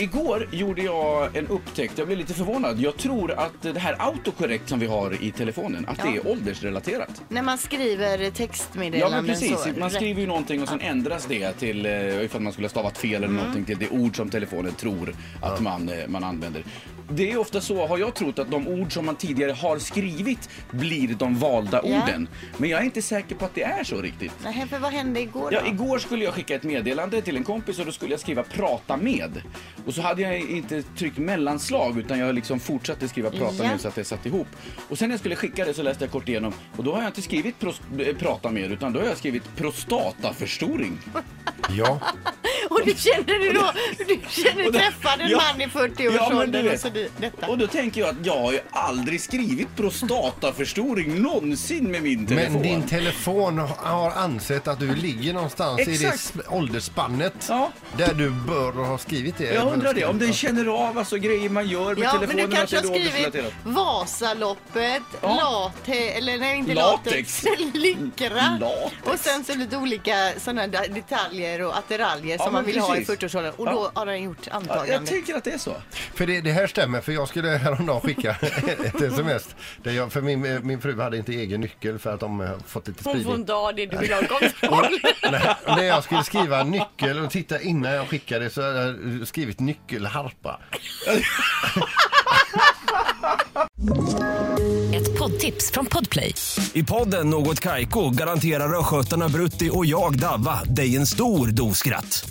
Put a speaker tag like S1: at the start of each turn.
S1: Igår gjorde jag en upptäckt. Jag blev lite förvånad. Jag tror att det här autocorrect som vi har i telefonen, att det är åldersrelaterat.
S2: När man skriver
S1: Ja,
S2: textmeddelanden
S1: men precis.
S2: så.
S1: Man skriver ju någonting och sen ändras det till, eh, ifall man skulle ha stavat fel
S2: Mm.
S1: eller någonting, till det ord som telefonen tror att man, eh, man använder. Det är ofta så, har jag trott, att de ord som man tidigare har skrivit blir de valda
S2: Ja.
S1: orden. Men jag är inte säker på att det är så riktigt.
S2: Nej, för vad hände igår då?
S1: Ja, igår skulle jag skicka ett meddelande till en kompis och då skulle jag skriva prata med. Och så hade jag inte tryckt mellanslag utan jag liksom fortsatte skriva prata
S2: Ja.
S1: med så att det satt ihop. Och sen när jag skulle skicka det så läste jag kort igenom och då har jag inte skrivit pros- eh, prata med utan då har jag skrivit prostataförstoring.
S3: Ja,
S2: Och du känner dig då, du känner
S1: Och det-
S2: träffad en
S1: Ja.
S2: man i 40-årsåldern och så du, detta.
S1: Och då tänker jag att jag har ju aldrig skrivit prostataförstoring någonsin med min telefon.
S3: men din telefon har ansett att du ligger någonstans i det
S1: Exakt.
S3: sp- åldersspannet
S1: Ja.
S3: där du bör ha skrivit det.
S1: jag undrar det, om den känner av alltså grejer man gör med
S2: Ja, men
S1: telefonen.
S2: du kanske
S1: att
S2: har
S1: det är
S2: skrivit
S1: åldersrelaterat.
S2: Vasaloppet,
S1: Ja.
S2: latex, eller nej inte latex,
S1: Latex. Mm,
S2: lyckra
S1: Latex.
S2: och sen så lite olika sådana där detaljer och attiraljer
S1: Ja,
S2: som man
S1: men
S2: vill ha i
S1: precis.
S2: 40-årsåldern och då har den gjort
S1: Ja, Jag
S2: antagande.
S1: tänker att det är så.
S3: För det, det här stämmer, för jag skulle häromdagen skicka ett sms. Där jag, för min, min fru hade inte egen nyckel för att de eh, fått lite
S4: Hon får en
S3: spridning.
S4: dag det du vill ha kontroll.
S3: Nej, när jag skulle skriva nyckel och titta innan jag skickade så hade jag skrivit nyckelharpa.
S5: Ett poddtips från Podplay.
S6: I podden Något Kaiko garanterar östgötarna Brutti och jag, Davva, dig en stor dos skratt.